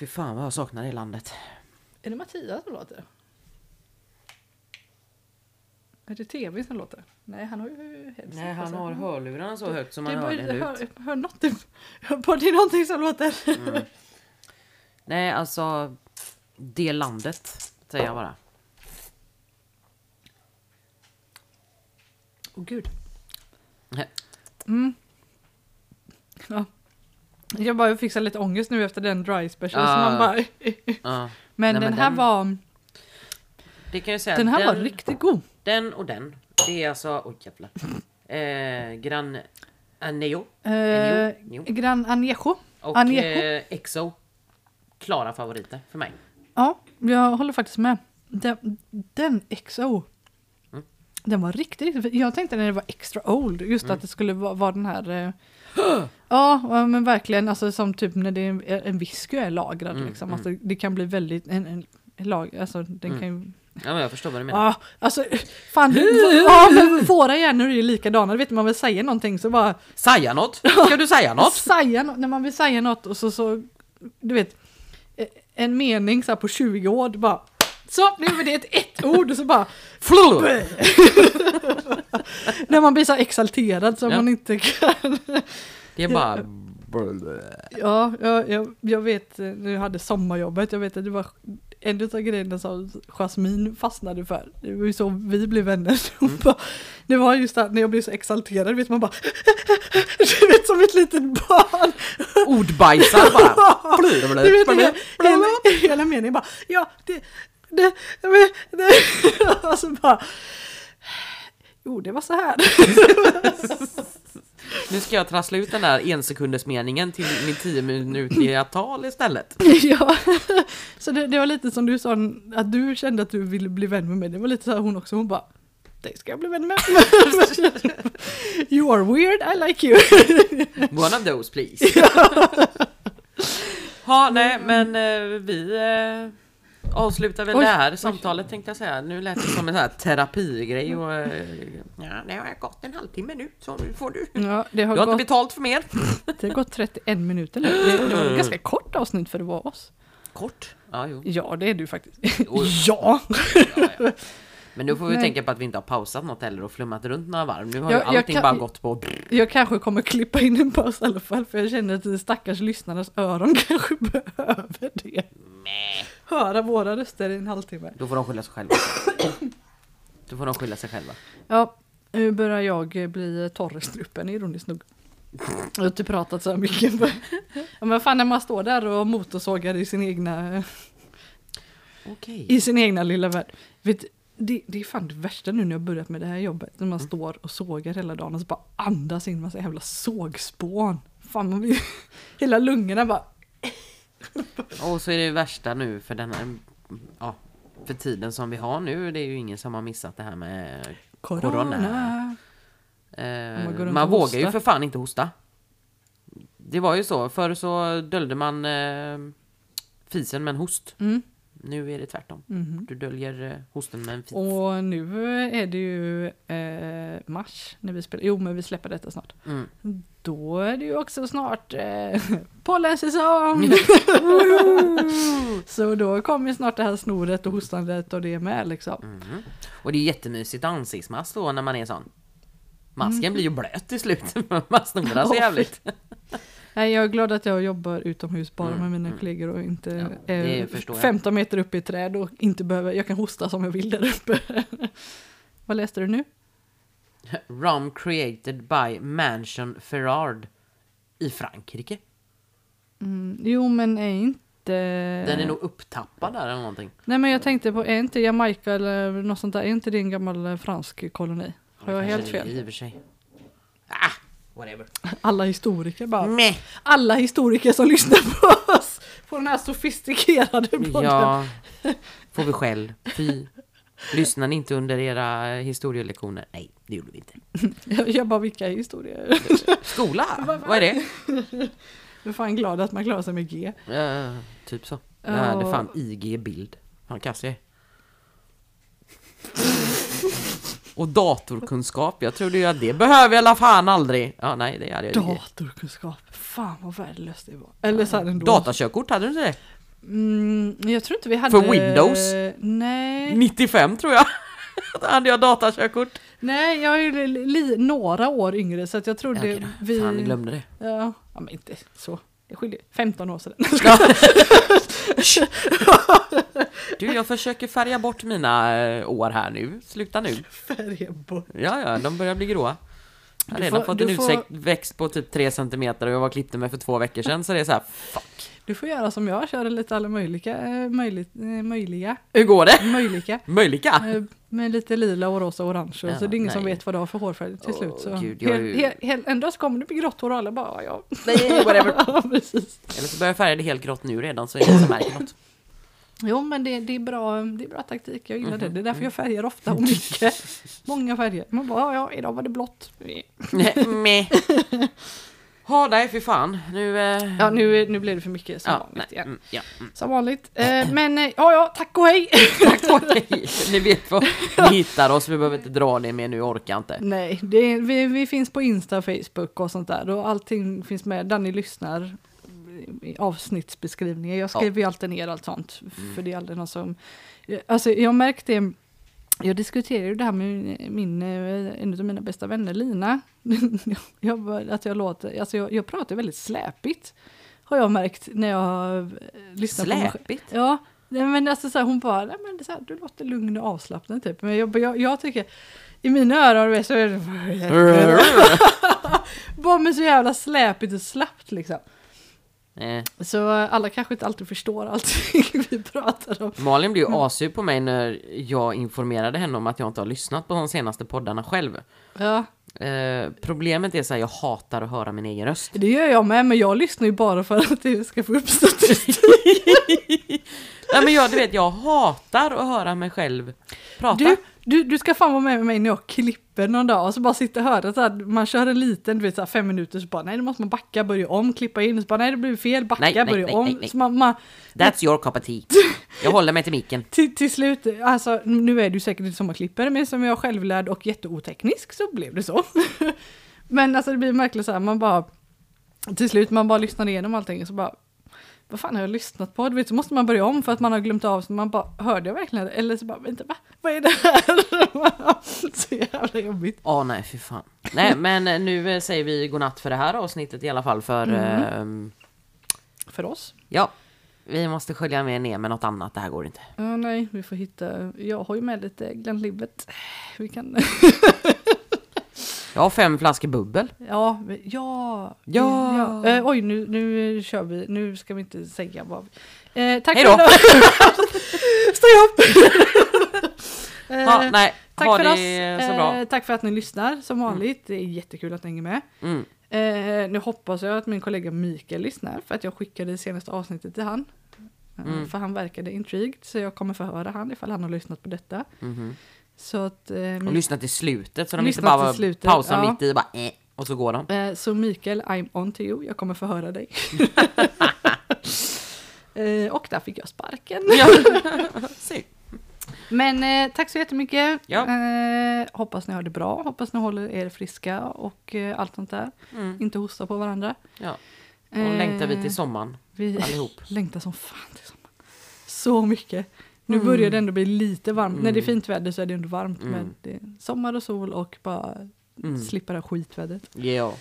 Speaker 1: Fy fan vad jag saknar det landet.
Speaker 2: [laughs] Är det Mattias som låter? Är det tv som låter? Nej, han har ju headset
Speaker 1: Nej han
Speaker 2: alltså.
Speaker 1: har hörlurarna så högt som
Speaker 2: Det
Speaker 1: man
Speaker 2: är
Speaker 1: hör
Speaker 2: bara-
Speaker 1: den ut. Mm.
Speaker 2: hör, hör något typ. Hör på, det är någonting som låter.
Speaker 1: Nej alltså Det landet säger jag bara.
Speaker 2: Åh gud.
Speaker 1: Nej.
Speaker 2: Mm. Ja. Jag bara fixar lite ångest nu efter den dry special.
Speaker 1: Ja.
Speaker 2: Så man bara,
Speaker 1: Ja.
Speaker 2: men,
Speaker 1: Ah. Nej,
Speaker 2: den här var,
Speaker 1: Det kan jag säga.
Speaker 2: den här var
Speaker 1: den,
Speaker 2: riktigt god.
Speaker 1: den och den. Det är alltså... Oj jävlar. Eh, Gran Aneo.
Speaker 2: Eh,
Speaker 1: jo.
Speaker 2: Gran Anejo.
Speaker 1: Och
Speaker 2: Anejo.
Speaker 1: eh, Exo. Klara favoriter för mig.
Speaker 2: Ja, jag håller faktiskt med. Den, den XO.
Speaker 1: Mm.
Speaker 2: Den var riktigt, riktigt Jag tänkte när det var extra old, just
Speaker 1: Mm.
Speaker 2: att det skulle vara, vara den här... eh, ja, ja, men verkligen. Alltså som typ när det är en, en whisky är lagrad
Speaker 1: Mm,
Speaker 2: liksom. Alltså, det kan bli väldigt... En, en, en lag, alltså den kan ju...
Speaker 1: Ja men jag förstår vad du menar.
Speaker 2: Ja, alltså
Speaker 1: [laughs]
Speaker 2: fan. v- ja, men våra hjärnor är ju likadana. Du vet man vill säga någonting så bara...
Speaker 1: Säga något! Ska du säga något?
Speaker 2: Säga, nå- när man vill säga något och så, så du vet, eh, en mening så här på 20 år, du bara så, nu är det ett, ett ord och så
Speaker 1: [laughs]
Speaker 2: bara
Speaker 1: Flå!
Speaker 2: När man blir så här exalterad så
Speaker 1: Ja.
Speaker 2: man inte kan
Speaker 1: Det är bara...
Speaker 2: Ja, jag, jag, jag vet, eh, när jag hade sommarjobbet, jag vet att det var en av grejerna som Jasmine fastnade för. Det var ju så vi blev vänner. [laughs]
Speaker 1: Mm.
Speaker 2: Hon bara, det var just det här, när jag blev så exalterad, vet man bara [laughs] Du vet som ett litet barn.
Speaker 1: Ordbajsar
Speaker 2: [laughs]
Speaker 1: bara!
Speaker 2: Du vet, hela, hela, hela meningen bara, ja, det, det, det, det. [laughs] Och så bara, jo det var så här.
Speaker 1: Nu ska jag trassla ut den där ensekundersmeningen till min 10 minutiga tal istället.
Speaker 2: [laughs] Ja, så det, det var lite som du sa, att du kände att du ville bli vän med mig. Det var lite så här hon också, hon bara dig ska jag bli vän med. [laughs] you are weird, I like you.
Speaker 1: One of
Speaker 2: [laughs]
Speaker 1: those please. Ja, nej men eh, vi eh, avslutar väl
Speaker 2: Oj,
Speaker 1: det här samtalet tänkte jag säga. Nu lät det som en sån här terapigrej och... eh, Ja, det har gått en halvtimme nu så nu får du.
Speaker 2: [laughs] Ja, det
Speaker 1: Du
Speaker 2: har,
Speaker 1: har inte
Speaker 2: gått,
Speaker 1: betalt för mer.
Speaker 2: det har gått 31 minuter nu. Det, det var
Speaker 1: Mm.
Speaker 2: ett ganska kort avsnitt för det var oss.
Speaker 1: Kort. Ja, jo.
Speaker 2: Ja, det är du faktiskt.
Speaker 1: Oj.
Speaker 2: [laughs] ja!
Speaker 1: Men nu får vi
Speaker 2: Nej.
Speaker 1: tänka på att vi inte har pausat något heller och flummat runt några varv. Nu har
Speaker 2: Jag-
Speaker 1: ju
Speaker 2: jag
Speaker 1: allting
Speaker 2: kan-
Speaker 1: bara gått på...
Speaker 2: Jag kanske kommer klippa in en paus i alla fall, för jag känner att de stackars lyssnarnas öron [laughs] kanske behöver det. Höra våra röster i en halvtimme.
Speaker 1: Då får de skylla sig själva. Då får de skylla sig själva.
Speaker 2: Ja, nu börjar jag bli torr i strupen ironiskt nog. Jag har inte pratat så här mycket. [laughs] Ja, men fan när man står där och motorsågar i sin egna,
Speaker 1: Okej.
Speaker 2: i sin egna lilla värld. Vet, det, det är fan det värsta nu när jag börjat med det här jobbet. När man står och sågar hela dagen och så bara andas in massa jävla sågspån. Fan man blir, [laughs] hela lungorna bara
Speaker 1: Och så är det värsta nu för den här, ja, för tiden som vi har nu. Det är ju ingen som har missat det här med...
Speaker 2: corona.
Speaker 1: Corona.
Speaker 2: Om
Speaker 1: Eh,
Speaker 2: man går runt
Speaker 1: man
Speaker 2: och
Speaker 1: vågar ju
Speaker 2: hostar.
Speaker 1: för fan inte hosta. Det var ju så. Förr så döljde man eh, fisen med en host.
Speaker 2: Mm.
Speaker 1: Nu är det tvärtom.
Speaker 2: Mhm.
Speaker 1: Du döljer eh, hosten med en fis.
Speaker 2: Och nu är det ju eh, mars när vi spelar. Jo men vi släpper detta snart.
Speaker 1: Mm.
Speaker 2: Då är det ju också snart eh, [laughs] pollensäsong!
Speaker 1: Mm.
Speaker 2: [laughs] så då kommer ju snart det här snoret och hostandet och det med liksom.
Speaker 1: Mhm. Och det är jättemysigt ansiktsmask då när man är sån. Masken blir ju blöt till slut. [laughs] man snorar så
Speaker 2: Mm. Åh,
Speaker 1: jävligt.
Speaker 2: Nej, jag är glad att jag jobbar utomhus bara
Speaker 1: Mm,
Speaker 2: med mina
Speaker 1: mm.
Speaker 2: kollegor och inte
Speaker 1: Ja, det
Speaker 2: eh,
Speaker 1: förstår jag.
Speaker 2: 15 meter upp i ett träd och inte behöver, jag kan hosta som jag vill där uppe. [laughs] Vad läste du nu?
Speaker 1: Rum created by Mansion Ferrard i Frankrike.
Speaker 2: Mm, jo men är inte...
Speaker 1: Den
Speaker 2: Eh.
Speaker 1: är nog upptappad där eller någonting.
Speaker 2: Nej men jag tänkte på, är inte Jamaica eller något sånt där, är inte det en gammal eh, fransk koloni? Har jag helt
Speaker 1: Kanske
Speaker 2: fel?
Speaker 1: I och för sig. Ah, whatever.
Speaker 2: Alla historiker bara,
Speaker 1: Meh.
Speaker 2: alla historiker som lyssnar på oss på den här sofistikerade podden.
Speaker 1: Ja, får vi skäll. Fy. Lyssnar ni inte under era historielektioner? Nej, det gjorde vi inte.
Speaker 2: Jag, jag bara, vilka historier? [laughs]
Speaker 1: Skola? Vad är det?
Speaker 2: Jag är fan glad att man klarar sig med G.
Speaker 1: Eh, typ så. Jag
Speaker 2: Ja.
Speaker 1: hade fan IG-bild. Fan kass jag är. Och datorkunskap. Jag trodde ju att det behöver jag la fan aldrig. Ja, nej, det hade jag ju.
Speaker 2: Datorkunskap, fan vad värdelöst det var. Eller så här ändå.
Speaker 1: Datakörkort, hade du inte det?
Speaker 2: Mm, jag tror inte vi hade...
Speaker 1: För Windows?
Speaker 2: Nej,
Speaker 1: 95 tror jag. [laughs] Då hade jag datakörkort.
Speaker 2: nej jag är ju li, li, några år yngre så att jag trodde
Speaker 1: Okej då.
Speaker 2: vi...
Speaker 1: Fan, jag glömde det.
Speaker 2: Ja, ja men inte så. Det skiljer 15 år sedan. [laughs]
Speaker 1: Du, jag försöker färga bort mina eh, år här nu. Sluta nu.
Speaker 2: Färja bort.
Speaker 1: Ja, ja, de börjar bli gråa. Jag har
Speaker 2: Du
Speaker 1: redan
Speaker 2: får-
Speaker 1: fått
Speaker 2: du
Speaker 1: en
Speaker 2: får-
Speaker 1: utväxt på typ 3 centimeter och jag var klippte mig för två veckor sedan så det är så här, fuck.
Speaker 2: Du får göra som jag, köra lite alla möjliga, eh, möjli- eh, möjliga,
Speaker 1: Hur går det?
Speaker 2: möjliga.
Speaker 1: Möjliga?
Speaker 2: Eh, Med lite lila och rosa och orange och
Speaker 1: Ah. Ja,
Speaker 2: så det är ingen som
Speaker 1: nej.
Speaker 2: vet vad du har för hårfärg till
Speaker 1: Åh,
Speaker 2: slut. Så
Speaker 1: gud, jag är ju-
Speaker 2: hel, hel, hel, en dag så kommer du med grått hår och alla bara ja.
Speaker 1: Nej, whatever.
Speaker 2: [laughs] ja. Precis.
Speaker 1: Eller så börjar jag färga det helt grått nu redan så är det ingen som märker något.
Speaker 2: Jo men det, det, är bra, det är bra taktik, jag gillar
Speaker 1: Mhm.
Speaker 2: det. Det är därför jag färgar ofta
Speaker 1: Mm.
Speaker 2: och mycket. Många färger. Man bara ja, ja idag var det blått.
Speaker 1: Nej,
Speaker 2: [laughs]
Speaker 1: Meh. Ha dig för fan. Nu... Eh...
Speaker 2: Ja nu, nu blev det för mycket som
Speaker 1: ja, nej,
Speaker 2: vanligt. igen.
Speaker 1: mm, ja. mm.
Speaker 2: Som vanligt. Eh, men eh, ja, ja, tack och hej! [laughs]
Speaker 1: Tack och hej. Ni vet vad ni hittar oss, vi behöver inte dra det mer nu, jag orkar inte.
Speaker 2: Nej, det, vi, vi finns på Insta, Facebook och sånt där. Och allting finns med. Danny lyssnar i avsnittsbeskrivningen. Jag skriver ju alltid ner allt sånt. För det är aldrig någon som... Alltså jag märkte... Jag diskuterade ju det här med min, eh, en av mina bästa vänner, Lina. [laughs] jag, bara- att jag, låter, alltså jag, jag pratar väldigt släpigt. Har jag märkt när jag eh, lyssnar på mig själv.
Speaker 1: Släpigt.
Speaker 2: Ja, nej, men alltså så här, hon bara, nej, men det är så här, du låter lugn och avslappnad typ. Men jag, jag, jag tycker, i mina öron är det så är det [laughs] bara men så jävla släpigt och slappt liksom.
Speaker 1: Eh,
Speaker 2: Så eh, alla kanske inte alltid förstår allting [laughs] vi pratar om.
Speaker 1: Malin blev ju asur på mig när jag informerade henne om att jag inte har lyssnat på de senaste poddarna själv.
Speaker 2: Ja,
Speaker 1: Eh, problemet är så här, jag hatar att höra min egen röst.
Speaker 2: det gör jag med, men jag lyssnar ju bara för att det ska få upp statistik.
Speaker 1: Nej men jag, du vet, jag hatar att höra mig själv prata.
Speaker 2: [laughs] Du, du, du ska fan vara med mig när jag klipper någon dag och så bara sitta och höra så här, man kör en liten, du vet så här, fem minuter så bara nej, då måste man backa, börja om, klippa in, så bara nej, det blir fel, backa,
Speaker 1: Nej, nej,
Speaker 2: börja
Speaker 1: nej,
Speaker 2: om.
Speaker 1: nej, nej.
Speaker 2: Så man, man,
Speaker 1: That's your cup of tea. Jag håller mig till micken.
Speaker 2: till, till slut, alltså nu är du säkert inte sommarklippare, men som jag är självlärd och jätteoteknisk så blev det så. [laughs] men alltså det blir märkligt så här, man bara, till slut man bara lyssnar igenom allting och så bara, vad fan har jag lyssnat på? Du vet, så måste man börja om för att man har glömt av, så man bara, hörde jag verkligen det? Eller så bara, vänta, va? Vad är det här? [laughs] så jävla jobbigt.
Speaker 1: Ja, nej, fy fan. Nej, men eh, nu eh, säger vi godnatt för det här avsnittet i alla fall för...
Speaker 2: Mm.
Speaker 1: ehm,
Speaker 2: För oss?
Speaker 1: ja, vi måste skölja med ner med något annat, det här går inte.
Speaker 2: Ja, nej, vi får hitta, jag har ju med lite Glenn Livet. Vi kan,
Speaker 1: Jag har fem flaskor bubbel.
Speaker 2: Ja, men- ja.
Speaker 1: Ja.
Speaker 2: Eh, oj, nu, nu kör vi. Nu ska vi inte säga vad vi... Eh, tack
Speaker 1: Hej då!
Speaker 2: för idag.
Speaker 1: [laughs]
Speaker 2: Stå upp! [laughs] eh,
Speaker 1: Ja, nej,
Speaker 2: tack
Speaker 1: ha
Speaker 2: för
Speaker 1: det
Speaker 2: oss.
Speaker 1: så bra.
Speaker 2: Eh, tack för att ni lyssnar som vanligt. Det är jättekul att ni hänger med.
Speaker 1: Mm.
Speaker 2: Eh, nu hoppas jag att min kollega Mikael lyssnar för att jag skickade det senaste avsnittet till han. Eh,
Speaker 1: Mm.
Speaker 2: För han verkade intrigued så jag kommer förhöra han ifall han har lyssnat på detta.
Speaker 1: mhm.
Speaker 2: Så att... eh,
Speaker 1: Och lyssna till slutet så de
Speaker 2: Lyssna
Speaker 1: inte bara
Speaker 2: till slutet,
Speaker 1: pausar
Speaker 2: ja.
Speaker 1: mitt i och bara eh, och så går
Speaker 2: [laughs]
Speaker 1: de.
Speaker 2: Eh, Så Mikael, I'm on to you. Jag kommer förhöra [laughs] dig. Eh, Och där fick jag sparken.
Speaker 1: Ja. Se.
Speaker 2: Men eh, tack så jättemycket.
Speaker 1: Ja.
Speaker 2: Eh, hoppas ni har det bra. Hoppas ni håller er friska och eh, allt sånt där.
Speaker 1: Mm.
Speaker 2: Inte hosta på varandra.
Speaker 1: Ja. Och
Speaker 2: Eh,
Speaker 1: längtar vi till sommaren
Speaker 2: Vi
Speaker 1: allihop.
Speaker 2: [laughs] längtar som fan till sommaren. Så mycket. Nu börjar det ändå bli lite varmt. När det är fint väder så är det ändå varmt.
Speaker 1: Mm.
Speaker 2: Men det är sommar och sol och bara
Speaker 1: Mm.
Speaker 2: slippa det här skitvädret.
Speaker 1: Ja.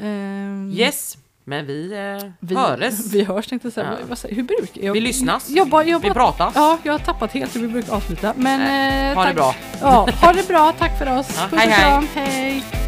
Speaker 2: Ehm,
Speaker 1: Yes, men vi, eh, höres.
Speaker 2: [laughs]
Speaker 1: Vi,
Speaker 2: Vi hörs tänkte jag säga.
Speaker 1: Ja.
Speaker 2: Vad säger- Hur brukar jag?
Speaker 1: lyssnas.
Speaker 2: Jag bara, jag
Speaker 1: vi
Speaker 2: bara,
Speaker 1: pratas.
Speaker 2: ja, jag har tappat helt hur vi brukar avsluta. Men,
Speaker 1: Nej,
Speaker 2: eh,
Speaker 1: ha det
Speaker 2: tack.
Speaker 1: bra.
Speaker 2: Ja, ha det bra. Tack för oss.
Speaker 1: Ja,
Speaker 2: Puss och
Speaker 1: hej, hej.
Speaker 2: kram. Hej.